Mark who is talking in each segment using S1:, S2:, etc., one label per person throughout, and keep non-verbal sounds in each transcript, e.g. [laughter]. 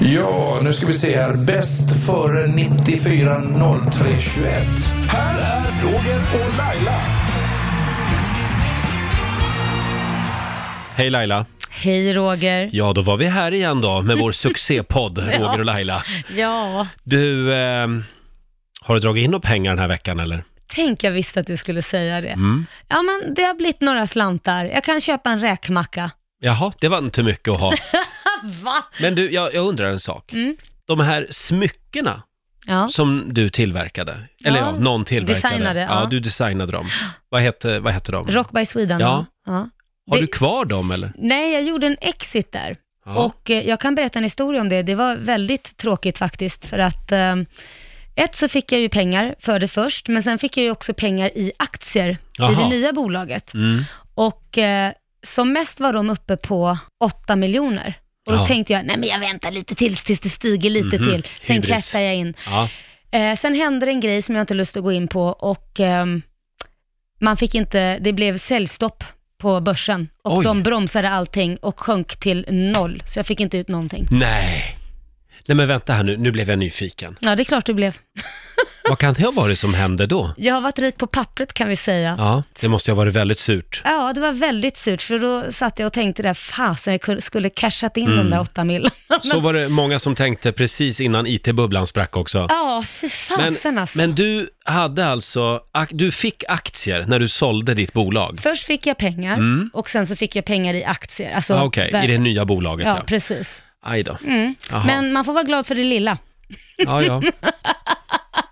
S1: Ja, nu ska vi se här. Bäst före 94 03 21.
S2: Här är Roger och Laila.
S3: Hej Laila.
S4: Hej Roger.
S3: Ja, då var vi här igen då med
S4: [laughs]
S3: vår succépodd Roger och Laila.
S4: Ja,
S3: Du, ehm, har du dragit in några pengar den här veckan eller?
S4: tänk jag visste att du skulle säga det.
S3: Mm.
S4: Ja, men det har blivit några slantar. Jag kan köpa en räkmacka.
S3: Jaha, det var inte mycket
S4: [laughs]
S3: att ha.
S4: Va?
S3: Men du, jag, jag undrar en sak.
S4: Mm.
S3: De här smyckena
S4: Ja.
S3: som du tillverkade, eller ja,
S4: Ja,
S3: någon tillverkade.
S4: designade, ja.
S3: du designade dem. Vad hette, vad hette de?
S4: Rock by Sweden.
S3: Ja.
S4: ja.
S3: Har
S4: det-
S3: du kvar dem eller?
S4: Nej, jag gjorde en exit där.
S3: Ja.
S4: Och eh, jag kan berätta en historia om det. Det var väldigt tråkigt faktiskt, för att eh, ett så fick jag ju pengar för det först, men sen fick jag ju också pengar i aktier i
S3: Jaha.
S4: det nya bolaget.
S3: Mm.
S4: Och eh, som mest var de uppe på 8 miljoner. Och då
S3: Ja.
S4: tänkte jag, nej men jag väntar lite till tills det stiger lite
S3: Mhm,
S4: till. Sen
S3: hybris.
S4: klättrar jag in.
S3: Ja.
S4: Eh, sen hände det en grej som jag inte har lust att gå in på och ehm, man fick inte, det blev säljstopp på börsen och
S3: Oj.
S4: de bromsade allting och sjönk till noll. Så jag fick inte ut någonting.
S3: Nej. Nej men vänta här nu, nu blev jag nyfiken.
S4: Ja, det är klart det blev.
S3: Vad kan det ha varit som hände då?
S4: Jag har varit rik på pappret kan vi säga. Ja.
S3: Ja, det måste ju ha varit väldigt surt.
S4: det var väldigt surt för då satt jag och tänkte där, fasen jag kunde- skulle cashat in
S3: Mm.
S4: de där åtta mil.
S3: Så var det många som tänkte precis innan IT-bubblan sprack också.
S4: Ja, fy fasen
S3: Men,
S4: alltså.
S3: men du hade alltså, ak- du fick aktier när du sålde ditt bolag?
S4: Först fick jag pengar och sen så fick jag pengar i aktier. Alltså,
S3: Mm. Ah, Okej,
S4: väl-
S3: i det nya bolaget
S4: Ja,
S3: ja.
S4: precis.
S3: Aj då. Jaha.
S4: Men man får vara glad för det lilla.
S3: Ja,
S4: [laughs]
S3: ja.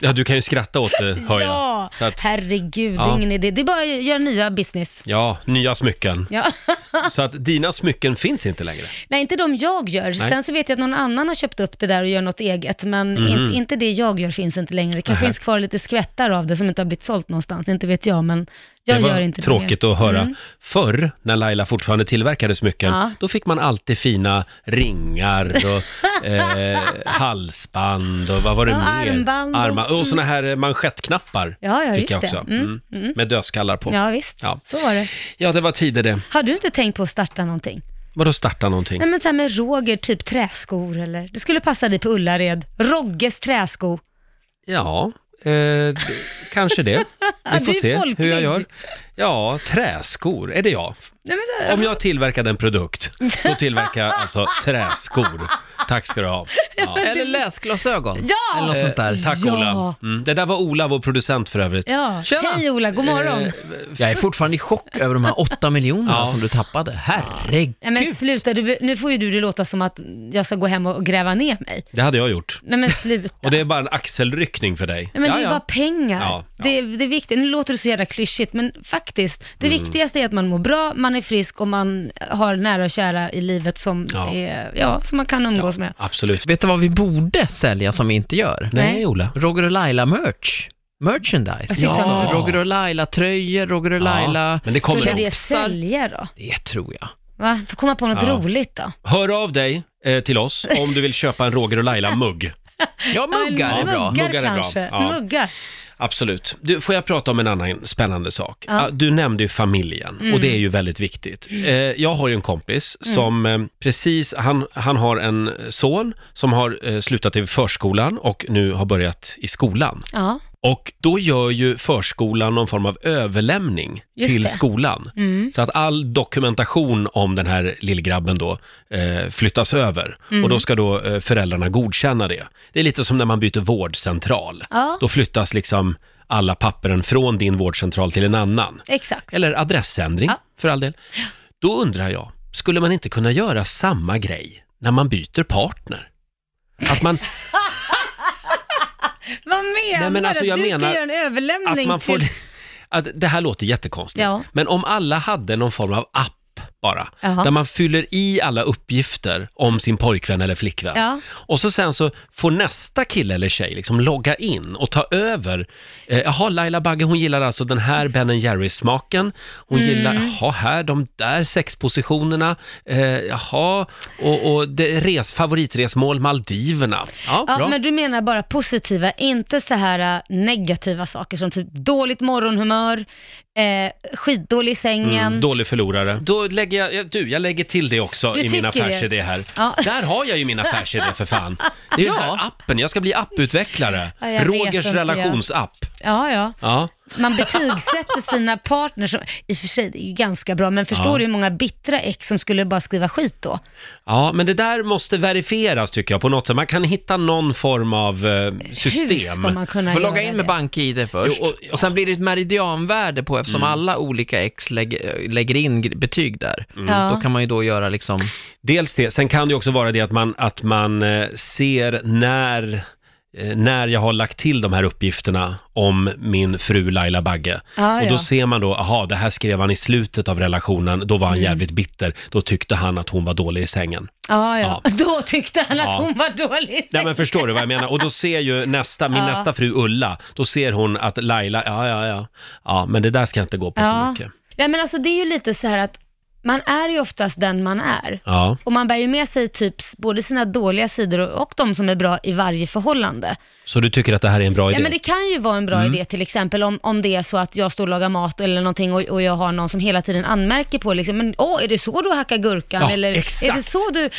S3: ja, du kan ju skratta åt det hör jag.
S4: ja,
S3: Så att,
S4: herregud,
S3: Ja.
S4: ingen idé. Det är bara att göra nya business.
S3: ja, nya smycken.
S4: Ja. [laughs]
S3: Så att dina smycken finns inte längre.
S4: Nej, inte de jag gör.
S3: Nej. Mhm.
S4: Sen så vet jag att någon annan har köpt upp det där och gör något eget, men inte, inte det jag gör finns inte längre. Det kanske
S3: Nähä.
S4: finns kvar lite skvättar av det som inte har blivit sålt någonstans, inte vet jag, men jag
S3: det var
S4: gör inte
S3: tråkigt
S4: det mer. Mm.
S3: att höra. Förr, när Laila fortfarande tillverkade smycken,
S4: Ja.
S3: då fick man alltid fina ringar
S4: [laughs]
S3: och eh, halsband och vad var det
S4: Ja,
S3: mer?
S4: armband och- mm.
S3: Arma, och såna här eh, manschettknappar
S4: Ja, ja,
S3: fick jag
S4: just det.
S3: också. Mm. Med dödskallar på. Ja.
S4: Ja, visst.
S3: Ja.
S4: Så var det.
S3: det var tider det.
S4: Har du inte tänkt på att starta någonting?
S3: Vadå starta någonting?
S4: Nej men så här med Roger, typ träskor eller? Det skulle passa dig på Ullared. Rogges träsko.
S3: Ja, eh, d- kanske
S4: [laughs]
S3: det. Vi
S4: Du
S3: får
S4: är
S3: se
S4: folklig.
S3: hur jag gör. Ja, träskor, är det jag?
S4: Nej, men så här,
S3: Om jag tillverkade en produkt, då tillverkar jag alltså träskor. Tack ska du ha.
S4: [laughs]
S3: Ja.
S5: Eller läsglasögon.
S4: Ja!
S5: Eller något sånt där.
S3: Eh, Tack
S4: Ja.
S3: Ola. Mm. Det där var Ola, vår producent för övrigt.
S4: Ja.
S5: Tjena.
S4: Hej Ola, god morgon.
S3: Eh,
S5: Jag är fortfarande i chock över de här åtta miljonerna
S3: Ja.
S5: som du tappade. Herregud.
S4: Nej men sluta, du, nu får ju du det låta som att jag ska gå hem och gräva ner mig.
S3: Det hade jag gjort.
S4: Nej men sluta.
S3: Och det är bara en axelryckning för dig.
S4: Nej, men det
S3: Ja,
S4: är
S3: ja.
S4: bara pengar.
S3: Ja, ja.
S4: Det, det är viktigt. Nu låter det så jävla klyschigt, men faktiskt, det
S3: Mm.
S4: viktigaste är att man mår bra, man är frisk och man har nära och kära i livet som,
S3: Ja.
S4: är, ja, som man kan umgås med.
S3: Absolut.
S5: Vet du vad vi borde sälja som vi inte gör?
S3: Nej,
S4: Nej.
S3: Ola.
S5: Roger och Laila-merch. Merchandise. Alltså,
S4: Ja. Ja.
S5: Roger och Laila-tröjor, Roger och Laila...
S3: men det kommer
S4: Ska
S3: nog.
S4: det
S5: Kompisar.
S4: sälja då?
S5: Det tror jag.
S4: Va? Får komma på något
S3: Ja.
S4: roligt då?
S3: Hör av dig eh, till oss om du vill köpa en Roger och
S4: [laughs]
S3: Laila-mugg.
S5: Ja, muggar är bra.
S4: Muggar,
S3: Muggar är bra.
S4: kanske.
S3: Ja.
S4: Muggar.
S3: Absolut. Du, får jag prata om en annan spännande sak?
S4: Ja. Mm.
S3: Ah, Du nämnde ju familjen och det är ju väldigt viktigt. Eh, jag har ju en kompis som eh, precis, han, han har en son som har eh, slutat i förskolan och nu har börjat i skolan.
S4: Ja.
S3: Och då gör ju förskolan någon form av överlämning
S4: Just
S3: till
S4: det. Mm.
S3: skolan. Så att all dokumentation om den här lillgrabben då eh, flyttas över.
S4: Mm.
S3: Och då ska då eh, föräldrarna godkänna det. Det är lite som när man byter vårdcentral.
S4: Ja.
S3: Då flyttas liksom alla papperen från din vårdcentral till en annan.
S4: Exakt.
S3: Eller adressändring, för all del. Då undrar jag, skulle man inte kunna göra samma grej när man byter partner? Att man...
S4: Vad menar
S3: Nej, men alltså, jag
S4: du? Du
S3: menar
S4: ska göra en
S3: att
S4: överlämning
S3: man får...
S4: till...
S3: [laughs] Att det här låter jättekonstigt,
S4: Ja.
S3: men om alla hade någon form av app bara,
S4: Jaha.
S3: där man fyller i alla uppgifter om sin pojkvän eller flickvän.
S4: Ja.
S3: Och så sen så får nästa kille eller tjej liksom logga in och ta över. Eh, jaha, Laila Bagge hon gillar alltså den här Ben Jerry-smaken. Hon
S4: Mm.
S3: gillar, jaha, här, de där sexpositionerna. Eh, jaha, och, och det, res, favoritresmål Maldiverna. Ja,
S4: Ja,
S3: bra.
S4: men du menar bara positiva, inte så här äh, negativa saker som typ dåligt morgonhumör, eh, äh, skitdålig i sängen.
S3: Mm. Dålig förlorare. Då lägger jag, jag- du, jag lägger till det också
S4: Du
S3: i min
S4: tycker det?
S3: affärsidé här.
S4: Ja.
S3: Där har jag ju min affärsidé för fan. Det är ju den här appen, jag ska bli apputvecklare.
S4: Ja, jag vet
S3: Rogers
S4: inte, ja.
S3: relationsapp.
S4: Ja, ja.
S3: Ja.
S4: Man betygsätter sina partners. och- I och för sig, det är ju ganska bra, men förstår
S3: Ja.
S4: du hur många bittra ex som skulle bara skriva skit då?
S3: ja, men det där måste verifieras tycker jag på något sätt. Man kan hitta någon form av eh, system.
S4: Hur ska man kunna
S5: Får
S4: göra
S5: logga in
S4: det?
S5: med bank-id först.
S3: Jo,
S5: och,
S3: och- Mm.
S5: sen blir det ett meridianvärde på, eftersom alla olika ex lägger, lägger in gr- betyg där.
S3: Mm.
S4: Ja.
S5: Då kan man ju då göra liksom,
S3: Dels det, sen kan det ju också vara det att man, att man eh, ser när, eh, när jag har lagt till de här uppgifterna om min fru Laila Bagge.
S4: Ja,
S3: och då
S4: Ah, ja.
S3: ser man då, aha, det här skrev han i slutet av relationen, då var han
S4: Mm.
S3: jävligt bitter, då tyckte han att hon var dålig i sängen.
S4: Ja, ja. [laughs] Då tyckte han att
S3: Ja.
S4: hon var dålig.
S3: Nej men förstår du vad jag menar? Och då ser ju nästa, min
S4: Ja.
S3: nästa fru Ulla, då ser hon att Laila, ja ja ja, ja men det där ska jag inte gå på så
S4: ja.
S3: mycket.
S4: Nej, men alltså det är ju lite så här att man är ju oftast den man är.
S3: Ja,
S4: Och man bär ju med sig typ s- både sina dåliga sidor och, och de som är bra i varje förhållande.
S3: så du tycker att det Mm. här är en bra idé?
S4: Ja, men det kan ju vara en bra idé till exempel om, om det är så att jag står och lagar mat eller någonting och, och jag har någon som hela tiden anmärker på liksom, men åh, är det så du hackar gurkan?
S3: Ja,
S4: eller är det
S3: exakt.
S4: så du...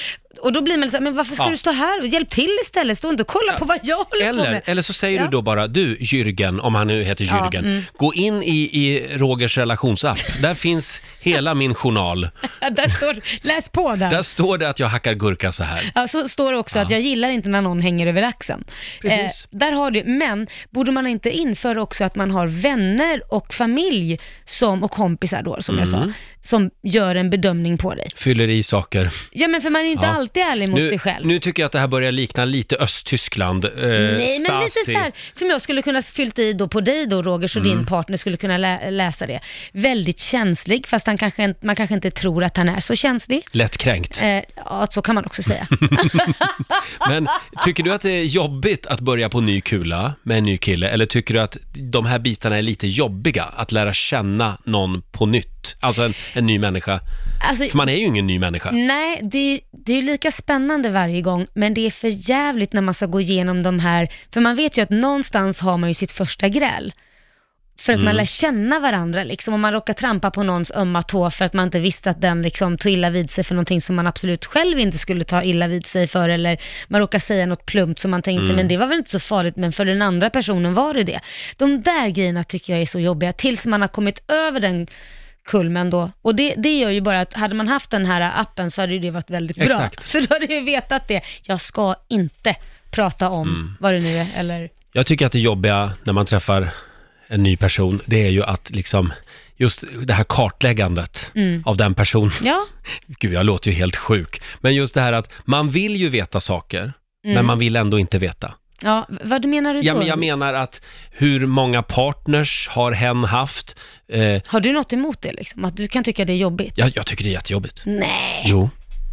S4: Och då blir man så här, men varför ska
S3: Ja.
S4: du stå här? Hjälp till istället, stå inte och kolla på vad jag håller på
S3: Eller,
S4: med.
S3: eller så säger
S4: Ja.
S3: du då bara, du Jürgen, om han nu heter
S4: Ja, mm.
S3: Jürgen, gå in i, i Rogers relationsapp.
S4: [laughs]
S3: Där finns hela min journal.
S4: Ja, [laughs] Där står, läs på där.
S3: Där står det att jag hackar gurka så här.
S4: Ja, så står det också att jag gillar inte när någon hänger över axeln. Eh,
S3: Precis.
S4: där har du, men borde man inte införa också att man har vänner och familj som, och kompisar då, som jag
S3: Mm.
S4: sa, som gör en bedömning på dig?
S3: Fyller i saker.
S4: Ja, men för man är ju inte
S3: Ja.
S4: alltid ärlig mot
S3: Nu,
S4: sig själv.
S3: nu tycker jag att det här börjar likna lite Östtyskland. Eh,
S4: Nej, men lite
S3: Stasi.
S4: så här, som jag skulle kunna fyllt i då på dig då Roger, så
S3: Mm.
S4: din partner skulle kunna lä- läsa det. Väldigt känslig, fast han kanske, inte- man kanske inte tror att han är så känslig. [laughs]
S3: Lättkränkt.
S4: Eh, ja, så kan man
S3: [laughs]
S4: också säga.
S3: Men tycker du att det är jobbigt att börja på ny kula med en ny kille? Eller tycker du att de här bitarna är lite jobbiga? Att lära känna någon på nytt? Alltså en, en ny människa.
S4: Alltså,
S3: För man är ju ingen ny människa.
S4: Nej, det är, det är ju lika spännande varje gång, men det är för jävligt när man ska gå igenom de här, för man vet ju att någonstans har man ju sitt första gräl. För att
S3: Mm.
S4: man lär känna varandra liksom, om man råkar trampa på någons ömma tå för att man inte visste att den liksom tog illa vid sig för någonting som man absolut själv inte skulle ta illa vid sig för, eller man råkar säga något plumpt som man tänkte,
S3: Mm.
S4: men det var väl inte så farligt, men för den andra personen var det det. De där grejerna tycker jag är så jobbiga, tills man har kommit över den kulmen då. Och det, det gör ju bara att hade man haft den här appen så hade ju det varit väldigt bra.
S3: Exakt.
S4: [laughs] För då hade jag ju vetat det. Jag ska inte prata om
S3: Mm.
S4: vad det nu är eller...
S3: Jag tycker att det jobbiga när man träffar en ny person, det är ju att liksom just det här kartläggandet
S4: Mm.
S3: av den personen.
S4: Ja,
S3: [laughs] Gud, jag låter ju helt sjuk. Men just det här att man vill ju veta saker,
S4: Mm.
S3: men man vill ändå inte veta.
S4: ja v- vad menar du då?
S3: Jag, men- jag menar att hur många partners har hen haft? Eh,
S4: Har du något emot det liksom? Att du kan tycka det är jobbigt?
S3: jag, jag tycker det är jättejobbigt.
S4: Nej.
S3: Jo.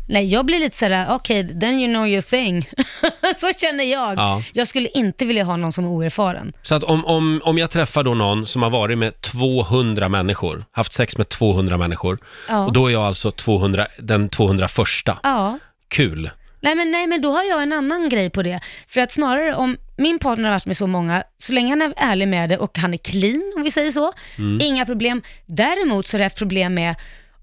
S4: Nej, jag blir lite sådär, okej, then you know your thing. [laughs] så känner jag.
S3: Ja.
S4: Jag skulle inte vilja ha någon som är oerfaren.
S3: Så att om, om, om jag träffar då någon som har varit med 200 människor, haft sex med 200 människor,
S4: Ja.
S3: och då är jag alltså 200, den 201.
S4: Ja.
S3: Kul.
S4: Nej men, nej men då har jag en annan grej på det. För att snarare om min partner har varit med så många, så länge han är ärlig med det och han är clean om vi säger så,
S3: Mm.
S4: inga problem. Däremot så är det ett problem med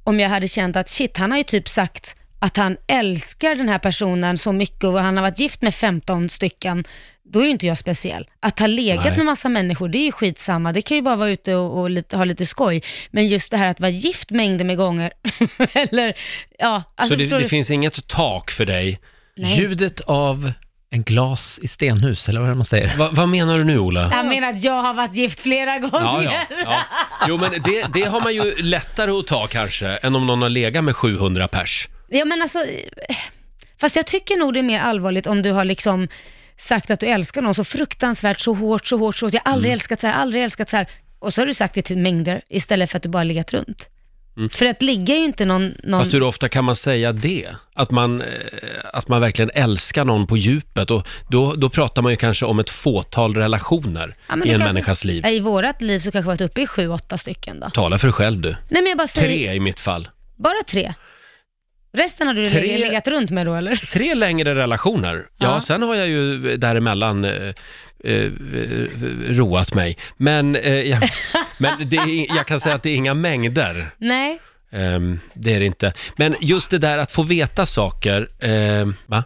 S4: om jag hade känt att shit, han har ju typ sagt att han älskar den här personen så mycket och han har varit gift med 15 stycken, då är ju inte jag speciell. Att ha legat
S3: Nej.
S4: med massa människor, det är ju skitsamma. Det kan ju bara vara ute och, och lite, ha lite skoj. Men just det här att vara gift mängder med gånger, [laughs] eller ja, alltså
S3: så det,
S4: förstår
S3: det
S4: du?
S3: finns inget tak för dig.
S4: Nej.
S5: ljudet av en glas i stenhus, eller vad är det man säger.
S3: Va, vad menar du nu Ola?
S4: Jag menar att jag har varit gift flera gånger.
S3: Ja, ja, ja. Jo, men det, det har man ju lättare att ta kanske, än om någon har legat med 700 pers.
S4: Ja, men alltså, eh, fast jag tycker nog det är mer allvarligt om du har liksom sagt att du älskar någon så fruktansvärt, så hårt, så hårt, så hårt. Jag har aldrig
S5: Mm.
S4: älskat så här, aldrig älskat så här. Och så har du sagt det till mängder istället för att du bara har legat runt.
S5: Mm.
S4: För att ligga är ju inte någon... någon...
S3: Fast hur ofta kan man säga det? Att man, eh, att man verkligen älskar någon på djupet. Och då, då pratar man ju kanske om ett fåtal relationer
S4: Ja, men
S3: i
S4: då
S3: en
S4: kanske-
S3: människas liv.
S4: Ja, I vårat liv så kanske vi varit uppe i sju, åtta stycken då.
S3: Tala för dig själv du.
S4: Nej men jag bara säger,
S3: Tre i mitt fall.
S4: bara tre. Resten har du
S3: Tre-
S4: legat- legat runt med då eller?
S3: Tre längre relationer. Ja,
S4: Ja.
S3: sen har jag ju däremellan eh, eh,
S4: [laughs]
S3: roat mig. Men, eh, jag, men det är, jag kan säga att det är inga mängder.
S4: Nej.
S3: Ehm, det är det inte. Men just det där att få veta saker, ehm, va?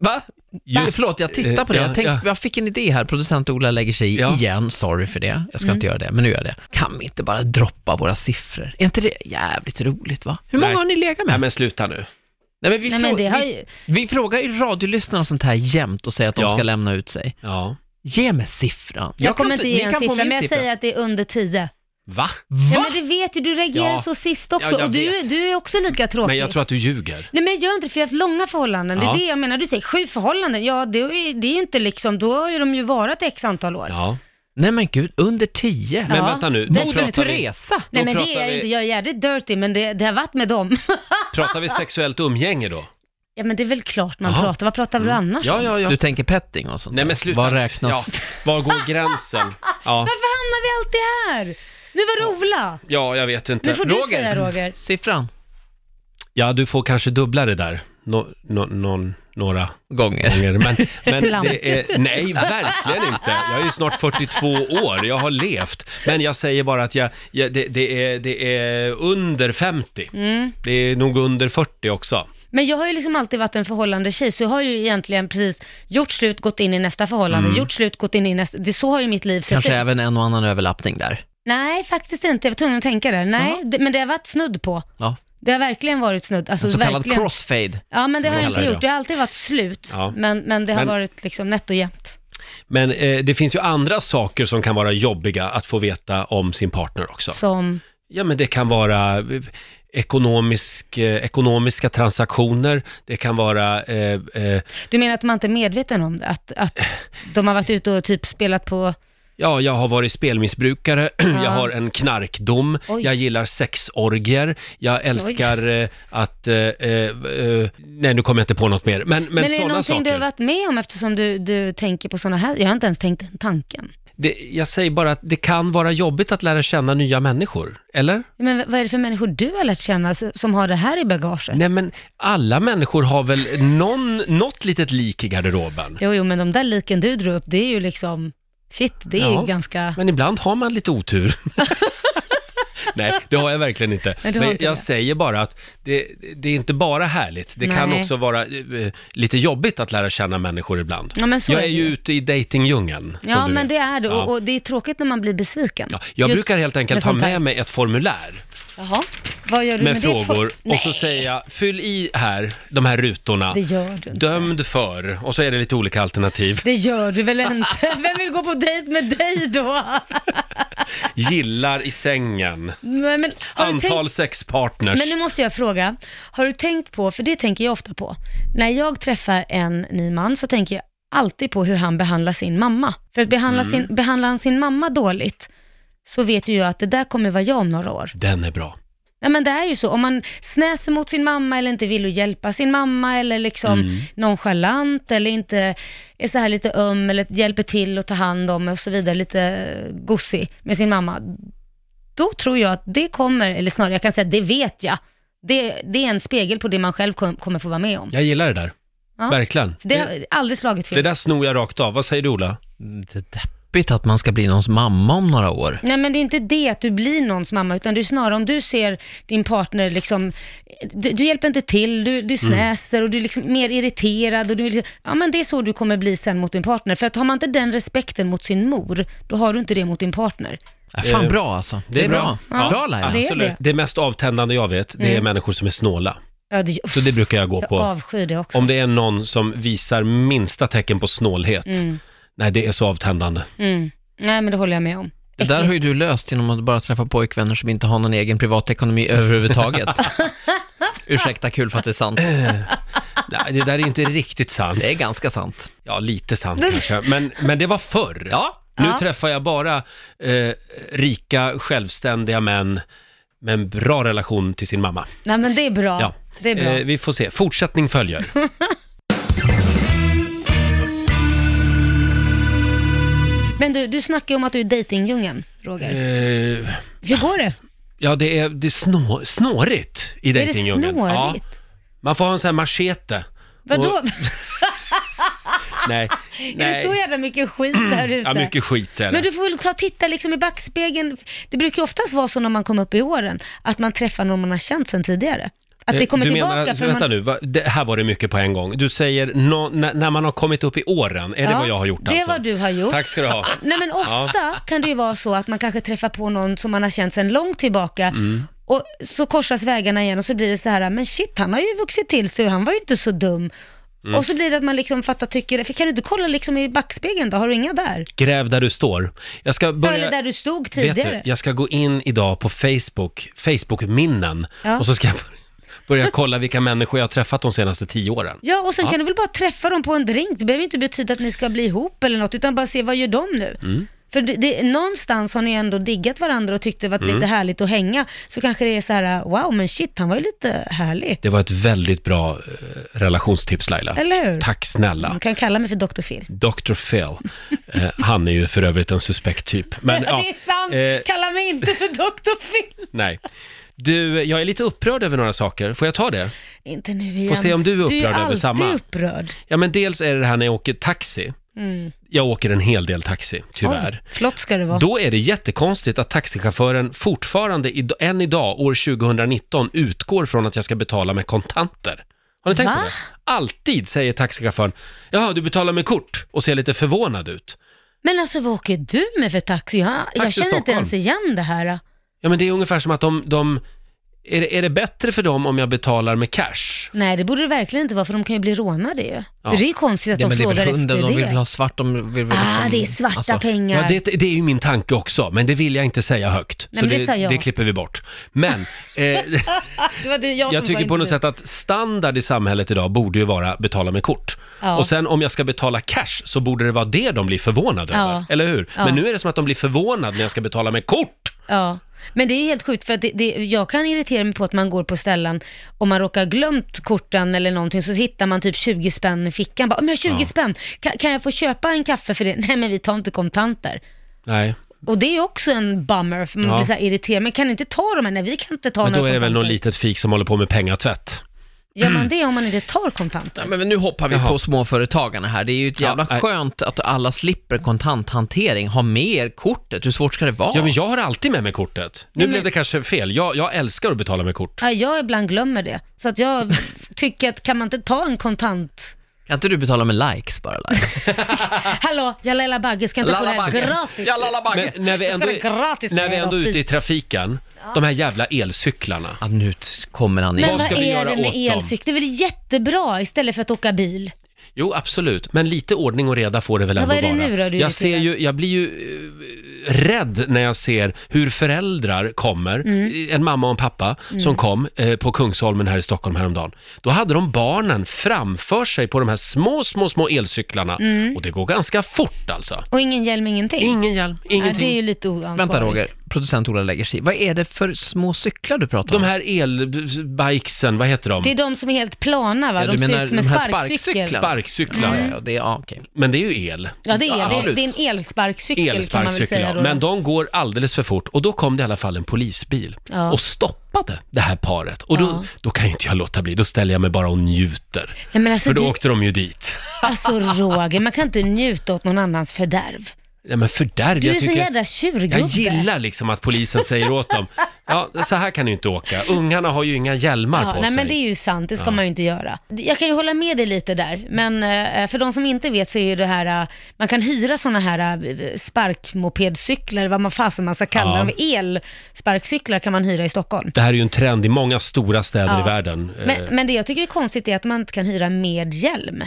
S5: Va?
S3: Just-
S5: Förlåt, jag tittar på det.
S3: Eh, ja,
S5: Jag, tänkte,
S3: ja.
S5: jag fick en idé här. Producent Ola lägger sig i
S3: Ja.
S5: igen. Sorry för det. Jag ska
S4: Mm.
S5: inte göra det, men nu gör jag det. Kan vi inte bara droppa våra siffror? Är inte det jävligt roligt, va? Hur många
S3: Nej.
S5: har ni legat med?
S3: Nej men sluta nu.
S5: Nej, men vi,
S4: Nej, men
S5: frå-
S4: det har
S5: vi,
S4: ju-
S5: vi frågar ju radiolyssnarna sånt här jämt och säger att de
S3: Ja.
S5: ska lämna ut sig.
S3: Ja.
S5: Ge mig siffran.
S4: Jag, kommer
S5: kan
S4: inte ge
S5: ni
S4: en
S5: kan få
S4: siffra,
S5: min
S4: men jag
S5: siffra.
S4: säger att det är under 10.
S3: Va?
S4: Ja,
S5: Va?
S4: men det vet ju, du reagerar
S3: Ja.
S4: så sist också.
S3: Ja, jag
S4: och du,
S3: vet.
S4: du är också lika tråkig.
S3: Men jag tror att du ljuger.
S4: Nej men jag gör inte det, för jag har haft långa förhållanden. Det
S3: Ja.
S4: är det jag menar. Du säger sju förhållanden. Ja, det är, det är ju inte liksom, då har ju de ju varit x antal år.
S3: Ja.
S5: Nej men gud, under 10?
S3: Men
S4: Ja.
S3: vänta nu,
S4: Men
S3: då
S5: Moder
S3: pratar vi,
S5: Teresa?
S4: Nej
S3: Då
S4: men det
S3: pratar
S4: är jag
S3: vi-
S4: ju inte. Jag är jävligt dirty, men det, det har varit med dem. [laughs]
S3: pratar vi sexuellt umgänge då?
S4: ja men det är väl klart man
S3: Jaha. Mm.
S4: pratar. Vad pratar du annars
S3: Ja,
S4: om?
S3: ja, ja.
S5: Du tänker petting och sånt
S3: Nej
S5: där.
S3: men sluta.
S5: Vad räknas?
S3: Ja. Var går
S4: [laughs]
S3: gränsen? Ja.
S4: Varför hamnar vi alltid här? Nu var det Ola.
S3: ja, jag vet inte.
S4: Nu får du
S5: Roger.
S4: säga Roger.
S5: Siffran?
S3: Ja, du får kanske dubbla det där. Nå, nå, någon, några
S5: Gånger.
S3: gånger. Men, men
S4: Slant.
S3: det är, nej, verkligen inte. Jag är ju snart 42 år, jag har levt. Men jag säger bara att jag, jag, det, det, är, det är under 50. Det är nog under 40 också.
S4: Men jag har ju liksom alltid varit en förhållande tjej, så jag har ju egentligen precis gjort slut, gått in i nästa förhållande,
S3: Mm.
S4: gjort slut, gått in i nästa. Det, så har ju mitt liv sett
S5: Kanske
S4: ut.
S5: även en och annan överlappning där.
S4: Nej, faktiskt inte. Jag var tvungen att tänka där. Nej, det, men det har varit snudd på.
S5: Ja.
S4: Det har verkligen varit snudd. Alltså,
S5: En så kallad
S4: verkligen.
S5: crossfade.
S4: Ja, men det har jag inte
S3: Crossfade,
S4: gjort. Det har alltid varit slut,
S3: Ja.
S4: men, men det har
S3: Men-
S4: varit liksom nätt och jämnt.
S3: Men eh, det finns ju andra saker som kan vara jobbiga att få veta om sin partner också.
S4: Som,
S3: Ja, men det kan vara eh, ekonomisk, eh, ekonomiska transaktioner, det kan vara... Eh, eh,
S4: du menar att man inte är medveten om det? Att, att de har varit ute och typ spelat på...
S3: Ja, jag har varit spelmissbrukare, [clears throat] jag
S4: Ja.
S3: har en knarkdom,
S4: Oj.
S3: jag gillar sexorger, jag älskar eh, att... Eh, eh, eh, nej, nu kommer jag inte på något mer. Men, men,
S4: Men, är det
S3: sådana
S4: någonting du
S3: saker.
S4: har varit med om eftersom du, du tänker på sådana här? Jag har inte ens tänkt den tanken.
S3: Det, jag säger bara att det kan vara jobbigt att lära känna nya människor, eller?
S4: Men v- vad är det för människor du har lärt känna s- som har det här i bagaget?
S3: Nej, men alla människor har väl någon, något litet lik i garderoben.
S4: Jo, jo, men de där liken du drog upp, det är ju liksom, shit, det är
S3: Ja.
S4: ju ganska...
S3: Men ibland har man lite
S4: [laughs]
S3: otur. Nej, det har jag verkligen inte.
S4: Nej, du har
S3: Men
S4: inte
S3: jag
S4: det.
S3: säger bara att det, det är inte bara härligt. Det kan
S4: Nej.
S3: också vara eh, lite jobbigt att lära känna människor ibland.
S4: Ja, men så
S3: jag
S4: är
S3: är
S4: det
S3: ju
S4: ju.
S3: ute i datingdjungeln. som
S4: Ja,
S3: du vet.
S4: men det är det.
S3: Ja.
S4: Och, och det är tråkigt när man blir besviken.
S3: Ja, jag
S4: Just
S3: brukar helt enkelt ha
S4: sånt här.
S3: med mig ett formulär
S4: Jaha, vad gör du
S3: med
S4: med, det?
S3: frågor
S4: för-
S3: och så säger jag fyll i här, de här rutorna.
S4: Det gör du inte.
S3: Dömd för, och så är det lite olika
S4: [laughs]
S3: alternativ.
S4: Det gör du
S3: [laughs]
S4: väl inte? Vem vill gå på dejt med dig då?
S3: Gillar i sängen,
S4: Nej, men, har du
S3: antal
S4: tänkt...
S3: sexpartners.
S4: men nu måste jag fråga, har du tänkt på, för det tänker jag ofta på, när jag träffar en ny man så tänker jag alltid på hur han behandlar sin mamma. För att behandla
S3: Mm.
S4: sin, behandlar han sin mamma dåligt, så vet ju jag att det där kommer vara jag om några år.
S3: Den är bra.
S4: Nej men det är ju så, om man snäser mot sin mamma eller inte vill att hjälpa sin mamma eller liksom nonchalant eller inte är så här lite öm eller hjälper till att ta hand om och så vidare, lite gossig med sin mamma. Då tror jag att det kommer, eller snarare jag kan säga att det vet jag. Det, det är en spegel på det man själv kom, kommer få vara med om.
S3: Jag gillar det där.
S4: Ja.
S3: Verkligen.
S4: För det har aldrig slagit fel.
S3: Det där snor jag rakt av. Vad säger du Ola?
S5: Det är deppigt att man ska bli någons mamma om några år.
S4: Nej men det är inte det att du blir någons mamma, utan det är snarare om du ser din partner liksom, du, du hjälper inte till, du,
S3: Mm.
S4: du snäser och du är liksom mer irriterad och du är liksom, ja men det är så du kommer bli sen mot din partner. För att har man inte den respekten mot sin mor, då har du inte det mot din partner.
S5: Ja, fan
S3: Eh,
S5: bra alltså. Det, är bra.
S4: Ja.
S5: Bra Laila.
S4: Det är
S3: Absolut.
S4: det.
S3: Det mest avtändande jag vet, det är människor som är snåla.
S4: Ja, det,
S3: Så det brukar jag gå
S4: jag
S3: på.
S4: avskyr det också.
S3: Om det är någon som visar minsta tecken på snålhet. Nej, det är så avtändande.
S4: Mm. Nej men det håller jag med om.
S5: Det där har ju du löst genom att bara träffa pojkvänner som inte har någon egen privatekonomi överhuvudtaget.
S4: [laughs]
S5: Ursäkta, kul för att det är sant.
S3: Nej, det där är inte riktigt sant.
S5: Det är ganska sant.
S3: Ja, lite sant kanske. Men, men det var förr.
S5: Ja.
S3: Nu
S4: Ja.
S3: träffar jag bara eh, rika, självständiga män med en bra relation till sin mamma.
S4: Nej men det är bra.
S3: Ja.
S4: Det är bra.
S3: Eh, vi får se. Fortsättning följer.
S4: [laughs] Men du, du snackar ju om att du är i dejtingdjungeln, Roger.
S3: Eh,
S4: Hur går det?
S3: Ja, det är, det är snå, snårigt i
S4: Är det
S3: dejtingdjungeln.
S4: snårigt?
S3: Ja, man får ha en sån här machete.
S4: Vadå?
S3: Och- Nej.
S4: Är [laughs] det
S3: Nej.
S4: så jävla
S3: [clears throat]
S4: mycket skit där ute?
S3: Ja, mycket skit är
S4: Men
S3: det.
S4: du får väl ta och titta liksom i backspegeln. Det brukar ju oftast vara så när man kommer upp i åren, att man träffar någon man har känt sedan tidigare. Att det kommer
S3: Eh, du
S4: tillbaka.
S3: menar,
S4: för man-
S3: vänta nu, va, det, här var det mycket på en gång. Du säger nå- när, när man har kommit upp i åren, är det
S4: Ja,
S3: vad jag har gjort
S4: det är
S3: alltså?
S4: vad du har gjort.
S3: Tack ska du
S4: [laughs]
S3: ha.
S4: Nej men ofta kan det ju vara så att man kanske träffar på någon som man har känt sedan långt tillbaka
S3: Mm.
S4: och så korsas vägarna igen och så blir det så här, men shit han har ju vuxit till sig och han var ju inte så dum.
S3: Mm.
S4: Och så blir det att man liksom fattar tycker, för kan du inte kolla liksom i backspegeln då, har du inga där?
S3: Gräv där du står. Jag ska börja...
S4: Eller där du stod
S3: Vet
S4: tidigare.
S3: du, jag ska gå in idag på Facebook, Facebook-minnen,
S4: Ja.
S3: och så ska jag [laughs] börja kolla vilka människor jag har träffat de senaste tio åren.
S4: Ja, och sen kan du väl bara träffa dem på en drink. Det behöver inte betyda att ni ska bli ihop eller något, utan bara se vad gör de nu?
S3: Mm.
S4: För det, det, någonstans har ni ändå diggat varandra och tyckt det varit
S3: Mm.
S4: lite härligt att hänga. Så kanske det är så här, wow, men shit, han var ju lite härlig.
S3: Det var ett väldigt bra eh, relationstips Laila.
S4: Eller hur?
S3: Tack snälla.
S4: Du kan kalla mig för Dr. Phil.
S3: Dr. Phil. Eh, han är ju för övrigt en suspekt typ. Men, ja,
S4: [laughs] det är sant!
S3: eh,
S4: Kalla mig inte för Dr. Phil!
S3: nej. Du, jag är lite upprörd över några saker. Får jag ta det?
S4: Inte nu igen.
S3: se om du är upprörd över
S4: du är ju
S3: samma.
S4: alltid upprörd.
S3: Ja, men dels är det det här när jag åker taxi. Jag åker en hel del taxi, tyvärr.
S4: Mm. Oj, flott ska det vara.
S3: Då är det jättekonstigt att taxichauffören fortfarande, id- än idag, år 2019, utgår från att jag ska betala med kontanter. Har ni tänkt på
S4: Va?
S3: det? Alltid säger taxichauffören, ja du betalar med kort och ser lite förvånad ut.
S4: Men alltså vad åker du med för taxi? Jag, jag
S3: Taxi
S4: känner inte
S3: Stockholm.
S4: ens igen det här.
S3: Ja men det är ungefär som att de, de är, det, är det bättre för dem om jag betalar med cash?
S4: Nej, det borde det verkligen inte vara, för de kan ju bli rånade ju. För det är ju konstigt att
S5: Ja,
S4: de
S5: men det är
S4: frågar
S5: väl
S4: efter
S5: hunden,
S4: det.
S5: de vill väl ha svart, de vill väl
S4: Ah,
S5: liksom-
S4: det är svarta
S5: alltså,
S4: pengar.
S3: Ja, det, det är ju min tanke också, men det vill jag inte säga högt.
S4: Nej,
S3: så
S4: men det sa jag.
S3: det klipper vi bort.
S4: [laughs]
S3: Men eh,
S4: Det var du,
S3: Jag
S4: jag, som
S3: tycker
S4: var
S3: på något
S4: inte
S3: sätt att standard i samhället idag borde ju vara betala med kort.
S4: Ja.
S3: Och sen om jag ska betala cash så borde det vara det de blir förvånade
S4: Ja.
S3: över, eller hur?
S4: Ja.
S3: Men nu är det som att de blir förvånade när jag ska betala med kort!
S4: du. Ja. Men det är ju helt sjukt för att det, det, jag kan irritera mig på att man går på ställen och man råkar ha glömt korten eller någonting så hittar man typ 20 spänn i fickan. Bara, men jag har 20 spänn, kan, kan jag få köpa en kaffe för det? [laughs] Nej men vi tar inte kontanter.
S3: Nej,
S4: Och det är ju också en bummer för man
S3: Ja.
S4: blir så här irriterad. Men kan ni inte ta de här? Nej vi kan inte ta
S3: men
S4: några
S3: då är det
S4: kontanter.
S3: väl någon litet fik som håller på med pengatvätt.
S4: Gör man det om man inte tar kontanter?
S5: Ja, men nu hoppar vi
S3: Jaha.
S5: på småföretagarna här. Det är ju ett jävla
S3: Ja, nej.
S5: skönt att alla slipper kontanthantering. Ha med er kortet, hur svårt ska det vara?
S3: Ja, men jag har alltid med mig kortet. Nu
S4: men-
S3: blev det kanske fel. Jag, jag älskar att betala med kort.
S4: Ja, jag ibland glömmer det. Så att jag tycker att kan man inte ta en kontant?
S5: Kan inte du betala med likes
S4: [laughs]
S5: bara? Laila?
S3: Ah.
S4: Hallå, jag är Laila Bagge, ska inte få det här
S5: Bagge.
S4: gratis?
S5: Ja, Lalla Bagge.
S3: Men när vi
S4: Det ska
S3: ändå,
S4: vara gratis
S3: när
S4: när
S3: vi
S4: jag
S3: ändå
S4: var
S3: är ute i
S4: fik.
S3: trafiken, de här jävla elcyklarna.
S5: Ja, nu kommer han
S4: Men
S5: igen.
S3: Vad
S4: vad
S3: ska vi
S4: är
S3: göra
S4: det med
S3: åt dem?
S4: elcykel? Det är väl jättebra istället för att åka bil?
S3: Jo, absolut. Men lite ordning och reda får det väl
S4: Men
S3: ändå
S4: vad är det
S3: vara.
S4: nu då du
S3: jag, ser
S4: irriterar?
S3: ju, jag blir ju eh, rädd när jag ser hur föräldrar kommer.
S4: Mm.
S3: eh, En mamma och en pappa som kom eh, på Kungsholmen här i Stockholm häromdagen. Då hade de barnen framför sig på de här små, små, små elcyklarna.
S4: Mm.
S3: Och det går ganska fort alltså.
S4: Och ingen hjälm, ingenting?
S3: Ingen hjälm,
S4: Nej, det är
S3: ingenting.
S4: ju lite oansvarigt.
S5: Vänta Roger, producent Ola lägger sig i. Vad är det för små cyklar du pratar om?
S3: de här elbikesen, vad heter de?
S4: Det är de som är helt plana va?
S5: Ja,
S4: De
S5: du
S4: ser
S5: menar
S4: ut som en
S5: de här
S4: sparkcykel.
S5: sparkcyklarna?
S3: Sparkcyklar.
S5: Ja, ja, det är, ja, okej.
S3: Men det är ju el.
S4: Ja, det är, det, är,
S5: absolut.
S4: det är en elsparkcykel kan man väl
S3: Elsparkcykel,
S4: säga
S3: ja.
S4: då.
S3: Men de går alldeles för fort och då kom det i alla fall en polisbil
S4: Ja.
S3: och stoppade det här paret. Och då,
S4: Ja.
S3: då kan ju inte jag låta bli, då ställer jag mig bara och njuter.
S4: Nej, men alltså,
S3: För då
S4: du,
S3: åkte de ju dit.
S4: alltså Roger, man kan inte njuta åt någon annans fördärv.
S3: Nej men fördärv,
S4: Du är
S3: jag
S4: så
S3: tycker...
S4: jävla tjurgubbe.
S3: Jag gillar liksom att polisen säger åt dem, ja så här kan du inte åka, ungarna har ju inga hjälmar
S4: Ja,
S3: på
S4: nej,
S3: sig.
S4: men det är ju sant, det ska man ju inte göra. Jag kan ju hålla med dig lite där, men eh, för de som inte vet så är ju det här, eh, man kan hyra sådana här eh, sparkmopedcyklar, vad man fasen man ska kalla
S3: Ja.
S4: dem, elsparkcyklar kan man hyra i Stockholm.
S3: Det här är ju en trend i många stora städer
S4: Ja.
S3: i världen. Eh,
S4: Men, men det jag tycker är konstigt är att man inte kan hyra med hjälm.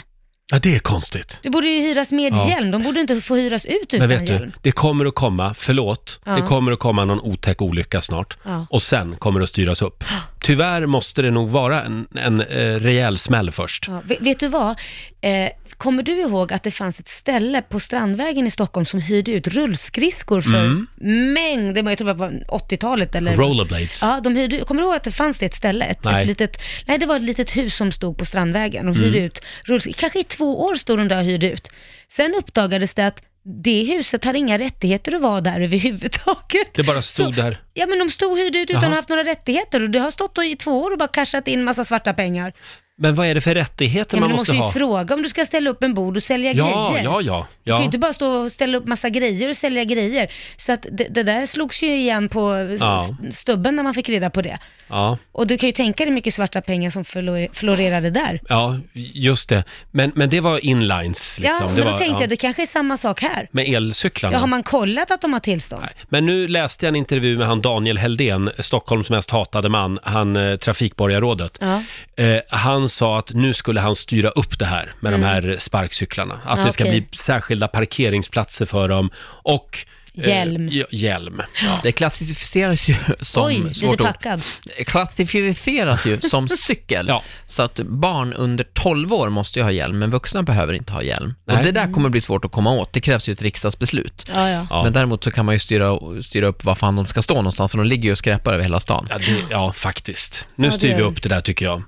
S3: Ja, det är konstigt.
S4: Det borde ju hyras med
S3: Ja.
S4: hjälm, de borde inte få hyras ut utan
S3: Men vet
S4: hjälm.
S3: du, det kommer att komma, förlåt,
S4: Ja.
S3: det kommer att komma någon otäck olycka snart.
S4: Ja.
S3: Och sen kommer det att styras upp. Tyvärr måste det nog vara en, en eh, rejäl smäll först.
S4: Ja, vet, vet du vad? Eh, kommer du ihåg att det fanns ett ställe på Strandvägen i Stockholm som hyrde ut rullskridskor för mängder, men jag tror det var 80-talet eller...
S3: Mm. Rollerblades.
S4: Ja, de hyrde, kommer du ihåg att det fanns det ett ställe? Ett,
S3: Nej.
S4: Ett litet, nej, det var ett litet hus som stod på Strandvägen. De
S3: Mm.
S4: hyrde ut rullskridskor. Kanske i två år stod de där och hyrde ut. Sen uppdagades det att det huset hade inga rättigheter att vara där överhuvudtaget.
S3: Det bara stod
S4: Så-
S3: där.
S4: Ja men de stod och hyrde ut utan att
S3: Jaha.
S4: ha haft några rättigheter och det har stått i två år och bara cashat in massa svarta pengar.
S3: Men vad är det för rättigheter
S4: Ja,
S3: man
S4: men du
S3: måste,
S4: måste ju
S3: ha?
S4: fråga om du ska ställa upp en bord och sälja
S3: ja,
S4: grejer.
S3: ja, ja,
S4: Du kan ju
S3: ja.
S4: inte bara stå och ställa upp massa grejer och sälja grejer. Så att det, det där slogs ju igen på s-
S3: Ja.
S4: s- stubben när man fick reda på det.
S3: ja.
S4: Och du kan ju tänka dig mycket svarta pengar som flore- florerade där.
S3: Ja, just det. Men, men det var inlines liksom.
S4: ja,
S3: det
S4: men
S3: var,
S4: då tänkte
S3: ja,
S4: jag, det kanske är samma sak här.
S3: Med elcyklarna.
S4: Ja, har man kollat att de har tillstånd?
S3: Nej. Men nu läste jag en intervju med han Daniel Heldén, Stockholms mest hatade man, han eh, trafikborgarrådet.
S4: Ja.
S3: Eh, han sa att nu skulle han styra upp det här med de här sparkcyklarna. Att
S4: Mm. Ja,
S3: det ska
S4: okej.
S3: bli särskilda parkesplatser för dem och eh,
S4: Hjälm.
S3: ja, hjälm.
S5: Det klassificeras ju som,
S4: Oj, lite
S5: svårt ord,
S4: packad.
S5: klassificeras ju
S4: [laughs]
S5: som cykel.
S3: Ja.
S5: Så att barn under 12 år måste ju ha hjälm, men vuxna behöver inte ha hjälm.
S3: Nej.
S5: Och det där kommer bli svårt att komma åt, det krävs ju ett riksdagsbeslut.
S4: Ja, ja.
S3: Ja.
S5: Men däremot så kan man ju styra, styra upp var fan de ska stå någonstans, för de ligger ju och skräpar över hela stan.
S3: Ja, det, ja faktiskt. Nu
S4: Ja, det
S3: styr
S4: gör
S3: vi
S4: det.
S3: upp det där tycker jag.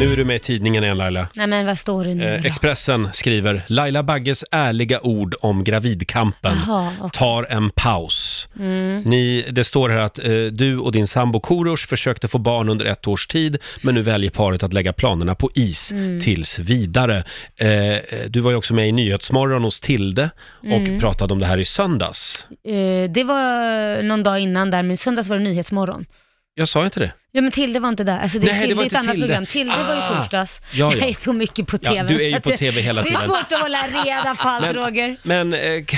S3: Nu är du med i tidningen igen Laila.
S4: Nej men vad står det nu
S3: Eh,
S4: då?
S3: Expressen skriver Laila Bagges ärliga ord om gravidkampen
S4: Jaha, okej. Mm.
S3: tar en paus. Ni, det står här att eh, du och din sambo Korosh försökte få barn under ett års tid men nu väljer paret att lägga planerna på is
S4: Mm.
S3: tills vidare. Eh, eh, du var ju också med i Nyhetsmorgon hos Tilde och
S4: Mm.
S3: pratade om det här i söndags.
S4: Eh, det var någon dag innan där, men i söndags var det Nyhetsmorgon.
S3: Jag sa inte det?
S4: Ja men Tilde var inte där, alltså det,
S3: Nej, det
S4: Tilde,
S3: var
S4: är ett
S3: inte
S4: annat
S3: Tilde.
S4: program. Tilde var
S3: Ah,
S4: ju torsdags.
S3: ja, ja.
S4: Jag är så mycket på
S3: Ja,
S4: TV.
S3: du är ju
S4: så att
S3: på
S4: jag-
S3: TV hela
S4: Det är
S3: tiden.
S4: svårt att hålla reda på allt
S3: Men-
S4: Roger.
S3: Men eh, k-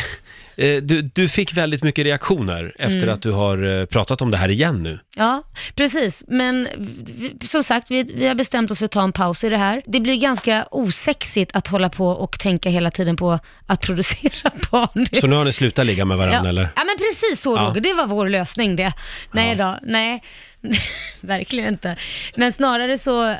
S3: eh, du, du fick väldigt mycket reaktioner efter
S4: Mm.
S3: att du har eh, pratat om det här igen nu.
S4: Ja, precis. Men vi- som sagt, vi, vi har bestämt oss för att ta en paus i det här. Det blir ganska osexigt att hålla på och tänka hela tiden på att producera [laughs] barn.
S3: Så nu har ni slutat ligga med varandra
S4: ja.
S3: eller?
S4: ja, men precis så
S3: Ja.
S4: Roger. Det var vår lösning det. Nej då, nej. [laughs] Verkligen inte. Men snarare så eh,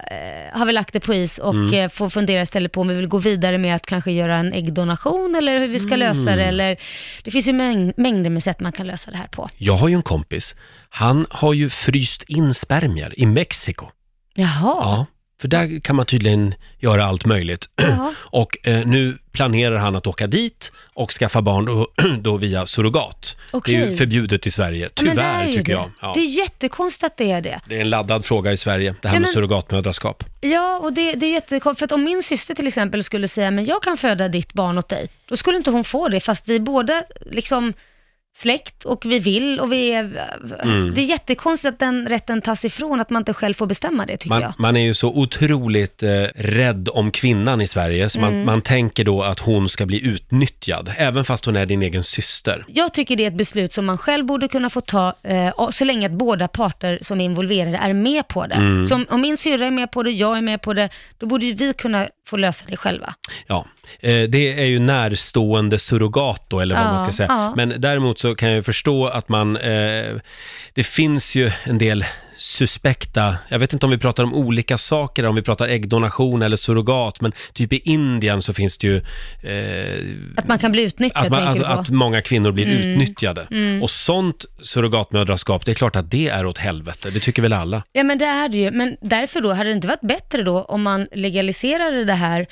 S4: har vi lagt det på is och
S3: Mm.
S4: eh, får fundera istället på om vi vill gå vidare med att kanske göra en äggdonation eller hur vi ska lösa
S3: Mm.
S4: det. Eller, det finns ju mäng- mängder med sätt man kan lösa det här på.
S3: Jag har ju en kompis, han har ju fryst in spermier i Mexiko.
S4: Jaha.
S3: Ja. För där kan man tydligen göra allt möjligt. [clears throat]
S4: Jaha.
S3: Och eh, nu planerar han att åka dit och skaffa barn då, [clears throat] då via surrogat. Det är ju
S4: Okej.
S3: förbjudet i Sverige,
S4: Ja, men det
S3: tyvärr
S4: är ju
S3: tycker
S4: det.
S3: jag. Ja.
S4: Det är jättekonstigt att det är det.
S3: Det är en laddad fråga i Sverige, det här
S4: Ja,
S3: med
S4: men-
S3: surrogatmödraskap.
S4: Ja, och det, det är jättekonstigt. För att om min syster till exempel skulle säga, men jag kan föda ditt barn åt dig, då skulle inte hon få det, fast vi är båda liksom släkt och vi vill och vi är...
S3: Mm.
S4: Det är jättekonstigt att den rätten tas ifrån, att man inte själv får bestämma det tycker
S3: Man,
S4: jag.
S3: man är ju så otroligt eh, rädd om kvinnan i Sverige, så
S4: Mm.
S3: man, man tänker då att hon ska bli utnyttjad, även fast hon är din egen syster.
S4: Jag tycker det är ett beslut som man själv borde kunna få ta, eh, och så länge att båda parter som är involverade är med på det.
S3: Mm.
S4: Så om, om min syrra är med på det, jag är med på det, då borde ju vi kunna få lösa det själva.
S3: Ja, eh, det är ju närstående surrogat då, eller vad
S4: Ja,
S3: man ska säga.
S4: ja.
S3: Men däremot så kan jag ju förstå att man, eh, det finns ju en del suspekta, jag vet inte om vi pratar om olika saker, om vi pratar äggdonation eller surrogat, men typ i Indien så finns det ju eh,
S4: Att man kan bli utnyttjad
S3: Att, man,
S4: tänker
S3: att,
S4: du på. Mm.
S3: att många kvinnor blir utnyttjade. Och sånt surrogatmödraskap, det är klart att det är åt helvete. Det tycker väl alla?
S4: Ja men det är det ju, men därför då, hade det inte varit bättre då om man legaliserade det här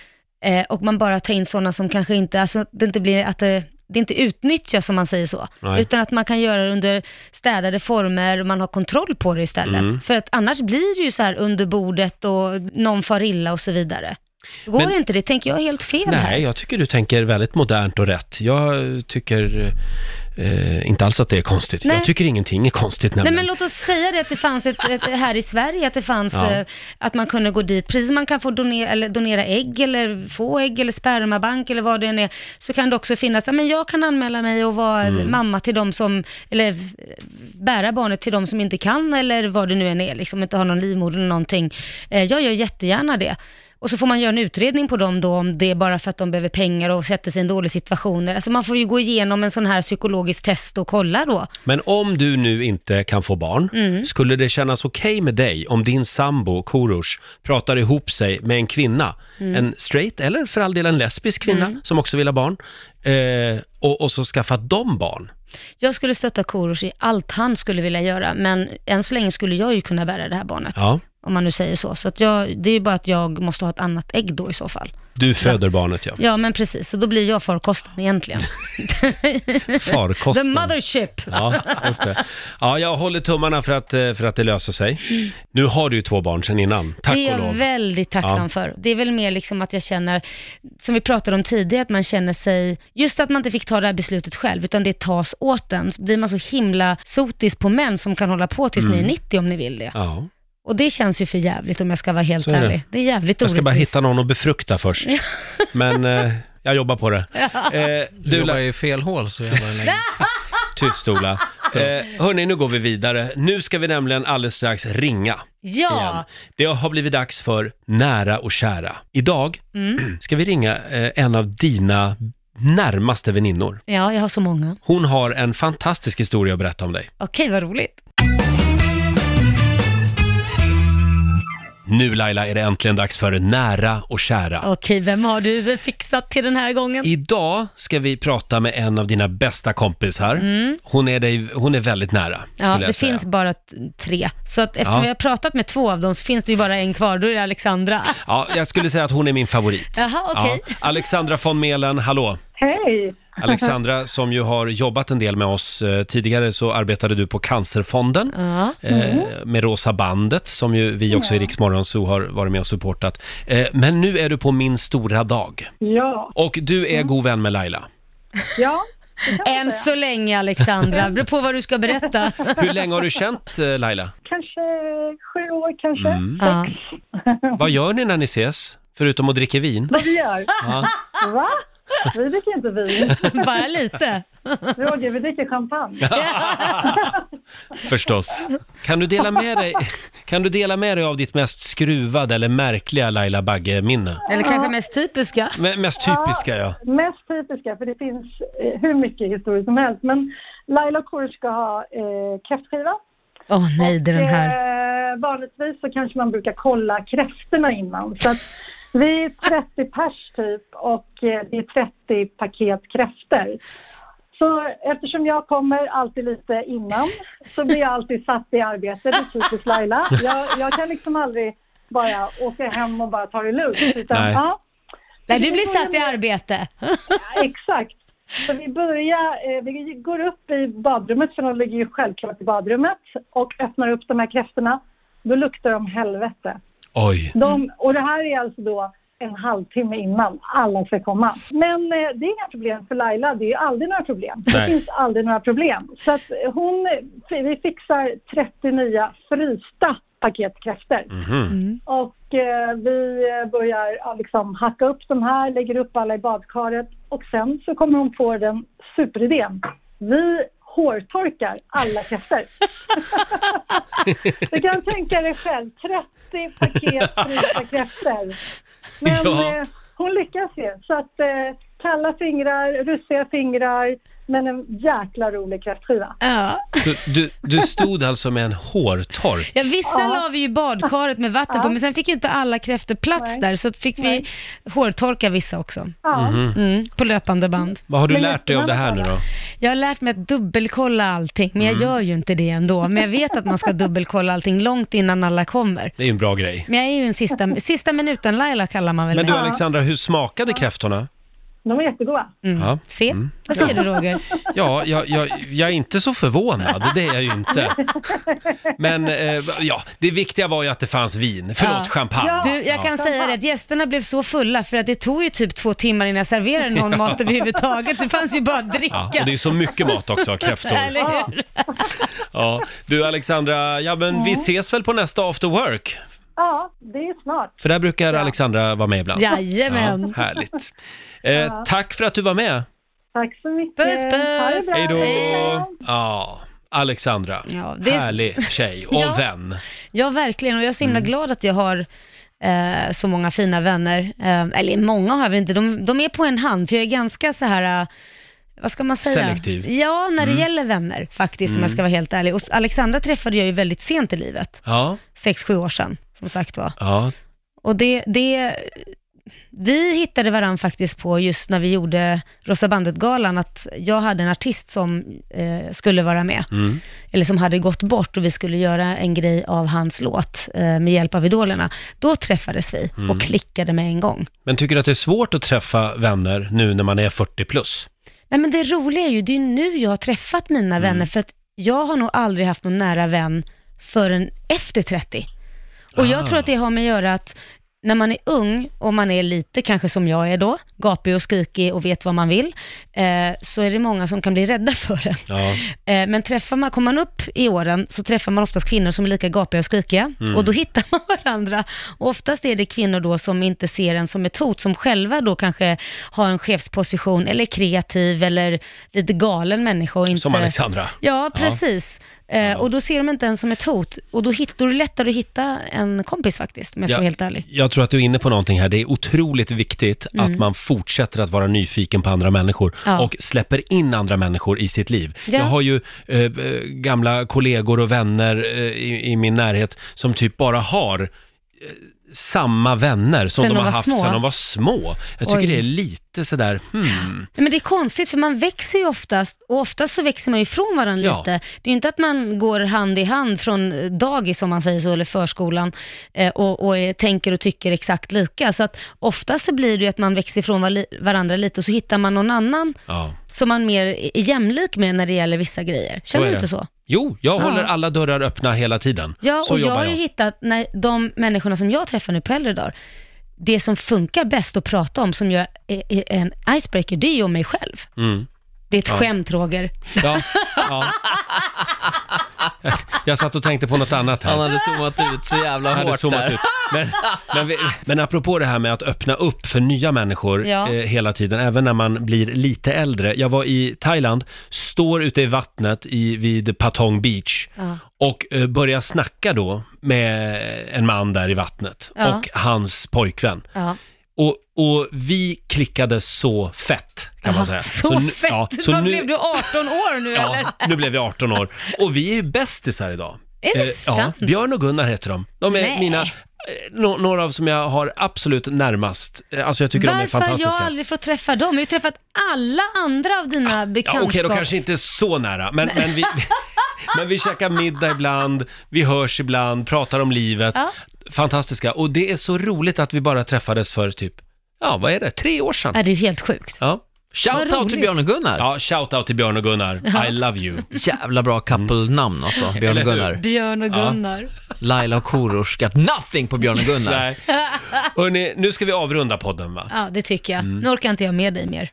S4: eh, och man bara tar in sådana som kanske inte, alltså att det inte blir, att det, det inte utnyttjas om man säger så,
S3: Nej.
S4: utan att man kan göra det under städade former och man har kontroll på det istället.
S3: Mm.
S4: För att annars blir det ju så här under bordet och någon far illa och så vidare. Det går
S3: Men-
S4: inte, det tänker jag är helt fel här.
S3: Nej, jag tycker du tänker väldigt modernt och rätt. Jag tycker eh, inte alls att det är konstigt.
S4: Nej.
S3: Jag tycker ingenting är konstigt
S4: Nej
S3: nämligen.
S4: men låt oss säga det att det fanns ett, ett, här i Sverige, att det fanns,
S3: Ja.
S4: eh, att man kunde gå dit, precis som man kan få donera, eller donera ägg eller få ägg eller spermabank eller vad det än är, så kan det också finnas, ja, men jag kan anmäla mig och vara
S3: Mm.
S4: mamma till de som, eller eh, bära barnet till de som inte kan eller vad det nu än är, liksom inte har någon livmoder eller någonting. Eh, jag gör jättegärna det. Och så får man göra en utredning på dem då om det är bara för att de behöver pengar och sätter sig i en dålig situation. Alltså man får ju gå igenom en sån här psykologisk test och kolla då.
S3: Men om du nu inte kan få barn,
S4: Mm.
S3: skulle det kännas okej med dig om din sambo Korosh pratar ihop sig med en kvinna,
S4: Mm.
S3: en straight eller för all del en lesbisk kvinna som också vill ha barn, eh, och, och så skaffar de barn?
S4: Jag skulle stötta Korosh i allt han skulle vilja göra, men än så länge skulle jag ju kunna bära det här barnet.
S3: Ja,
S4: Om man nu säger så. Så att jag, det är ju bara att jag måste ha ett annat ägg då i så fall.
S3: Du föder barnet ja.
S4: [laughs] Ja, men precis. Och då blir jag farkosten egentligen. The
S3: Farkosten.
S4: mothership.
S3: Ja, just det. Ja, jag håller tummarna för att, eh, för att det löser sig. Nu har du ju två barn sedan innan, tack
S4: det är
S3: och
S4: jag
S3: lov.
S4: väldigt tacksam
S3: Ja.
S4: för. Det är väl mer liksom att jag känner, som vi pratade om tidigare, att man känner sig, just att man inte fick ta det här beslutet själv, utan det tas åt en. Så Blir man så himla sotis på män som kan hålla på tills ni är 90 om ni vill det.
S3: Mm. Ja.
S4: Och det känns ju för jävligt om jag ska vara helt
S3: Så är det.
S4: ärlig. Det. är jävligt
S3: Jag ska bara
S4: orättvist.
S3: hitta någon att befrukta först. Men eh, jag jobbar på
S4: [laughs]
S3: det. Eh,
S5: Du
S3: du,
S5: jobbar ju i fel hål så jävla länge.
S3: tyst Ola. Eh, hörni, nu går vi vidare. Nu ska vi nämligen alldeles strax ringa igen.
S4: Ja,
S3: Det har blivit dags för nära och kära. Idag
S4: Mm.
S3: [clears throat] ska vi ringa eh, en av dina närmaste väninnor.
S4: ja, jag har så många.
S3: Hon har en fantastisk historia att berätta om dig.
S4: Okej, vad roligt.
S3: Nu Laila är det äntligen dags för nära och kära.
S4: Okej, vem har du fixat till den här gången?
S3: Idag ska vi prata med en av dina bästa kompisar. Hon, är dig, hon är väldigt nära,
S4: Mm. Ja,
S3: skulle jag
S4: det
S3: säga.
S4: finns bara t- tre. Så att eftersom
S3: Ja.
S4: vi har pratat med två av dem så finns det ju bara en kvar, då är
S3: [laughs]
S4: det Alexandra.
S3: Ja, jag skulle säga att hon är min favorit.
S4: [laughs] Jaha, okej.
S3: Ja. Alexandra von Melen, hallå.
S6: Hej! [laughs]
S3: Alexandra, som ju har jobbat en del med oss eh, tidigare, så arbetade du på Cancerfonden
S4: Ja.
S3: eh,
S6: Mm-hmm.
S3: med Rosa bandet, som ju vi också i Rix Morgon Zoo har varit med och supportat. Eh, men nu är du på Min stora dag.
S6: Ja,
S3: Och du är god vän med Laila.
S6: ja.
S4: Än så länge Alexandra, beror på vad du ska berätta.
S3: [laughs] Hur länge har du känt eh, Laila?
S6: kanske sju år kanske.
S4: Ja.
S3: Vad gör ni när ni ses? Förutom att dricka vin?
S6: Vad vi gör?
S3: Ja.
S6: Va? Vi dricker inte vin.
S4: Bara lite.
S6: Roger, vi dricker champagne.
S3: Förstås. Kan du, dela med dig, kan du dela med dig av ditt mest skruvade eller märkliga Laila Bagge-minne?
S4: Eller kanske mest typiska.
S3: M- mest typiska, ja.
S6: Mest typiska, för det finns eh, hur mycket historier som helst. Men Laila och Kor ska ha eh, kräftskiva.
S4: Åh nej, det är den här.
S6: Eh, vanligtvis så kanske man brukar kolla kräftorna innan. Så att vi är 30 pers typ och eh, det är 30 paket kräftor. Så eftersom jag kommer alltid lite innan så blir jag alltid satt i arbete, det är typiskt Laila. Jag, jag kan liksom aldrig bara åka hem och bara ta det lugnt. Utan,
S3: Nej.
S6: ja,
S4: Nej, du blir satt i arbete.
S6: Ja, exakt. Så vi börjar, eh, vi går upp i badrummet, för de ligger ju självklart i badrummet, och öppnar upp de här kräftorna. Då luktar de helvete.
S3: Oj.
S6: De, och det här är alltså då en halvtimme innan alla ska komma. Men eh, det är inga problem för Laila, det är ju aldrig några problem.
S3: Nej.
S6: Det finns aldrig några problem. Så att hon, vi fixar 30 nya frysta paket kräftor. Och eh, vi börjar ja, liksom hacka upp de här, lägger upp alla i badkaret och sen så kommer hon på den superidén. Vi hårtorkar alla kräftor. du kan tänka dig själv,
S3: [laughs]
S6: 30 paket frysta kräftor. Men
S3: Ja.
S6: eh, hon lyckas ju. Så att eh, kalla fingrar, russiga fingrar, men en jäkla rolig kräftskiva.
S4: Ja.
S3: Så du, du stod alltså med en hårtork?
S4: Ja, vissa la vi ju badkaret med vatten på, men sen fick ju inte alla kräftor plats
S6: Nej.
S4: där, så att fick vi
S6: Nej.
S4: hårtorka vissa också.
S6: Ja.
S3: Mhm.
S4: Mm, på löpande band.
S3: Vad har du
S6: Men
S3: lärt dig av det här nu då?
S4: Jag har lärt mig att dubbelkolla allting, men
S3: Mm.
S4: jag gör ju inte det ändå. Men jag vet att man ska dubbelkolla allting långt innan alla kommer.
S3: Det är ju en bra grej.
S4: Men jag är ju en sista, sista minuten-Laila kallar man väl
S3: Men du
S4: mig.
S3: Alexandra, hur smakade kräftorna?
S6: De är jättegoda.
S3: Ja.
S4: Se, vad säger du Roger?
S3: Mm. Ja, jag, jag, jag är inte så förvånad, det är jag ju inte. Men eh, ja, det viktiga var ju att det fanns vin, förlåt
S4: Ja.
S3: champagne.
S4: Du, jag kan säga det att gästerna blev så fulla för att det tog ju typ två timmar innan jag serverade någon
S3: [laughs]
S4: mat överhuvudtaget. Det fanns ju bara att
S3: Ja,
S4: dricka.
S3: och det är ju så mycket mat
S4: [laughs]
S3: också, kräftor.
S4: Eller hur?
S3: Ja. Du Alexandra, ja men vi
S4: Mm.
S3: ses väl på nästa after work?
S6: Ja, det är smart.
S3: För där brukar Alexandra vara med ibland.
S4: Jajamän.
S3: Ja,
S4: [laughs]
S3: härligt. Eh, Tack för att du var med.
S6: Tack så mycket.
S4: Puss,
S6: Ha det
S4: puss.
S6: bra.
S3: Hej då!
S6: Hej.
S3: Ja, Alexandra.
S4: Ja, det är-
S3: Härlig
S4: [laughs]
S3: tjej och
S4: Ja.
S3: vän.
S4: Ja, verkligen. Och jag är så himla glad att jag har eh, så många fina vänner. Eh, eller många har jag väl inte, de, de är på en hand, för jag är ganska så här, eh, vad ska man säga?
S3: Selektiv.
S4: Ja, när det gäller vänner faktiskt, om jag ska vara helt ärlig. Och Alexandra träffade jag ju väldigt sent i livet,
S3: Ja,
S4: sex sju år sedan, som sagt var.
S3: ja.
S4: Och det, det vi hittade varandra faktiskt på just när vi gjorde Rosa Bandet-galan, att jag hade en artist som eh, skulle vara med, eller som hade gått bort och vi skulle göra en grej av hans låt eh, med hjälp av idolerna. Då träffades vi och klickade med en gång.
S3: Men tycker du att det är svårt att träffa vänner nu när man är 40 plus?
S4: Nej men det roliga är ju, det är ju nu jag har träffat mina vänner, för att jag har nog aldrig haft någon nära vän förrän efter 30. Och
S3: Ah.
S4: jag tror att det har med att göra att när man är ung och man är lite, kanske som jag är då, gapig och skrikig och vet vad man vill, eh, så är det många som kan bli rädda [laughs] för en.
S3: Ja.
S4: Eh, men träffar man, kommer man upp i åren så träffar man oftast kvinnor som är lika gapiga och skrikiga och då hittar man varandra. Och oftast är det kvinnor då som inte ser en som ett hot, som själva då kanske har en chefsposition eller är kreativ eller lite galen människa och inte...
S3: Som Alexandra.
S4: Ja, precis. Eh, Och då ser de inte en som ett hot och då, hit, då är det lättare att hitta en kompis faktiskt, om jag ska vara helt ärlig. Mm.
S3: Jag tror att du är inne på någonting här. Det är otroligt viktigt att man fortsätter att vara nyfiken på andra människor
S4: Ja.
S3: och släpper in andra människor i sitt liv.
S4: Ja.
S3: Jag har ju eh, eh, gamla kollegor och vänner eh, i, i min närhet som typ bara har eh, samma vänner som
S4: Sen
S3: de
S4: de
S3: har
S4: var
S3: haft
S4: små.
S3: sedan de var små. Jag tycker
S4: Oj.
S3: det är lite sådär, hmm.
S4: Nej, Men det är konstigt för man växer ju oftast och oftast så växer man ju ifrån varandra
S3: Ja.
S4: lite. Det är ju inte att man går hand i hand från eh, dagis om man säger så, eller förskolan eh, och, och eh, tänker och tycker exakt lika. Så att oftast så blir det ju att man växer ifrån var- varandra lite och så hittar man någon annan
S3: Ja.
S4: som man mer är jämlik med när det gäller vissa grejer. Känner
S3: är
S4: du
S3: det.
S4: inte så?
S3: Jo, jag
S4: Ja.
S3: håller alla dörrar öppna hela tiden.
S4: Ja,
S3: så
S4: och jag
S3: jobbar
S4: har ju
S3: jag.
S4: hittat, när de människorna som jag träffar nu på äldre dagar, det som funkar bäst att prata om, som gör är- är en icebreaker, det är ju om mig själv.
S3: Mm.
S4: Det är ett skämt Roger.
S3: Ja,
S4: [laughs]
S3: ja. Jag satt och tänkte på något annat här.
S5: Han hade zoomat ut så jävla
S3: Jag hade
S5: hårt
S3: zoomat
S5: där.
S3: ut. Men, men,
S4: [laughs]
S3: vi, men apropå det här med att öppna upp för nya människor
S4: Ja.
S3: eh, hela tiden, även när man blir lite äldre. Jag var i Thailand, står ute i vattnet i, vid Patong Beach
S4: Ja.
S3: och eh, börjar snacka då med en man där i vattnet
S4: Ja.
S3: och hans pojkvän.
S4: Ja.
S3: Och, och vi klickade så fett kan man säga.
S4: Så,
S3: nu-
S4: fett!
S3: ja, så
S4: Vad
S3: nu-
S4: blev du 18 år nu eller?
S3: [laughs] Ja, nu blev jag 18 år. Och vi är ju bästisar idag.
S4: Är det
S3: Eh, ja,
S4: sant?
S3: Björn och Gunnar heter de. De är
S4: Nej.
S3: mina, eh, nå- några av som jag har absolut närmast. Eh, Alltså jag tycker de är
S4: Varför har jag
S3: fantastiska. Ah,
S4: aldrig fått träffa dem? Jag har ju träffat alla andra av dina
S3: Ja, Okej,
S4: bekantskaps...
S3: då kanske inte så nära, men, men vi... [laughs] Men vi käkar middag ibland, vi hörs ibland, pratar om livet.
S4: Ja.
S3: Fantastiska. Och det är så roligt att vi bara träffades för typ, ja vad är det, tre år sedan?
S4: Ja, det är ju helt sjukt.
S3: Ja,
S5: Shout out till
S4: roligt.
S5: Björn och Gunnar.
S3: ja shout-out till Björn och Gunnar. I love you.
S5: Jävla bra
S3: [laughs]
S5: couple-namn alltså, Björn
S3: Eller
S5: och
S3: hur?
S5: Gunnar.
S4: Björn och Gunnar.
S5: Laila och Korosh got nothing på Björn och Gunnar.
S4: [laughs]
S3: Nej. Hörrni, nu ska vi avrunda podden va? Mm.
S4: Ja, det tycker jag. Nu orkar inte jag med dig mer.